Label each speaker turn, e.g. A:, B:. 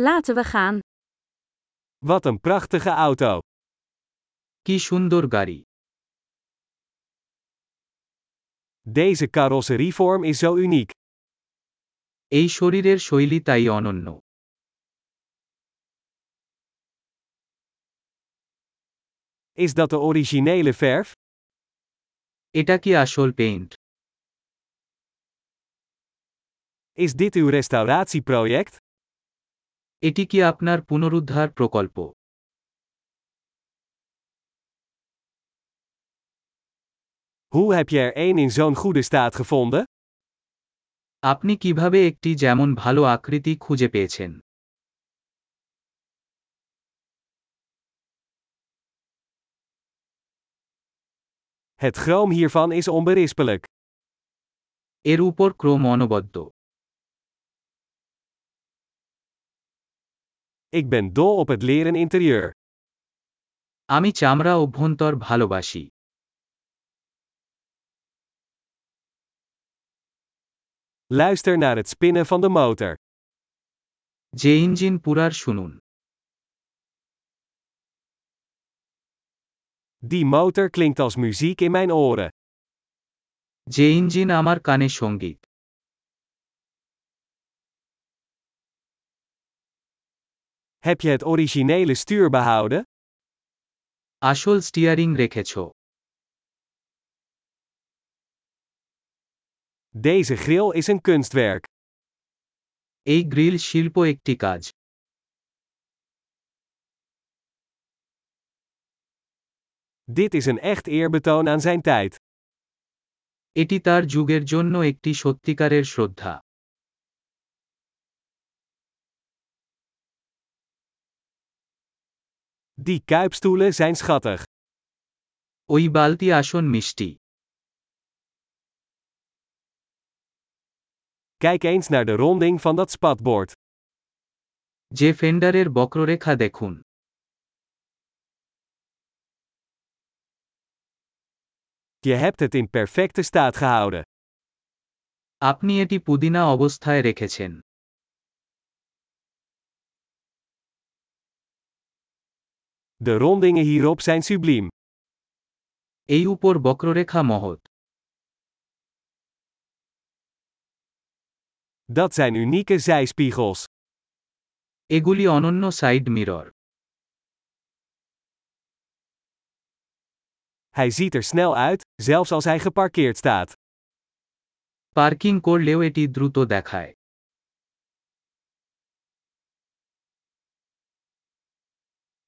A: Laten we gaan.
B: Wat een prachtige auto.
C: কি সুন্দর গাড়ি
B: Deze carrosserievorm is zo uniek.
C: এই শরীরের শৈলী তাই অনন্য
B: Is dat de originele verf?
C: এটা কি আসল paint
B: Is dit uw restauratieproject?
C: এটি কি আপনার পুনরুদ্ধার প্রকল্প
B: Hoe heb je er één in zo'n goede staat gevonden?
C: আপনি কিভাবে একটি যেমন ভালো আকৃতি খুঁজে পেয়েছেন
B: Het chroom hiervan is onberispelijk.
C: এর উপর ক্রম অনবদ্য
B: Ik ben dol op het leren interieur.
C: আমি চামড়া অভ্যন্তর ভালোবাসি
B: Luister naar het spinnen van de motor.
C: যে ইঞ্জিন পুরার শুনুন
B: Die motor klinkt als muziek in mijn oren.
C: যে ইঞ্জিন আমার কানে সঙ্গীত
B: Heb je het originele stuur behouden?
C: আসল স্টিয়ারিং রেখেছ
B: Deze grill is een kunstwerk.
C: এই গ্রিল শিল্প একটি কাজ
B: Dit is een echt eerbetoon aan zijn tijd.
C: এটি তার যুগের জন্য একটি সত্যিকারের শ্রদ্ধা
B: Die kuipstoelen zijn schattig.
C: ওই বালতি আসন মিষ্টি
B: Kijk eens naar de ronding van dat spatbord.
C: যে ফেন্ডারের বক্ররেখা দেখুন
B: Je hebt het in perfecte staat gehouden.
C: আপনি এটি পুদিনা অবস্থায় রেখেছেন
B: De rondingen hierop zijn subliem.
C: এই উপর বক্ররেখা মহৎ
B: Dat zijn unieke zijspiegels.
C: এগুলি অনন্য side mirror
B: Hij ziet er snel uit, zelfs als hij geparkeerd staat.
C: Parking করলেও এটি দ্রুত দেখায়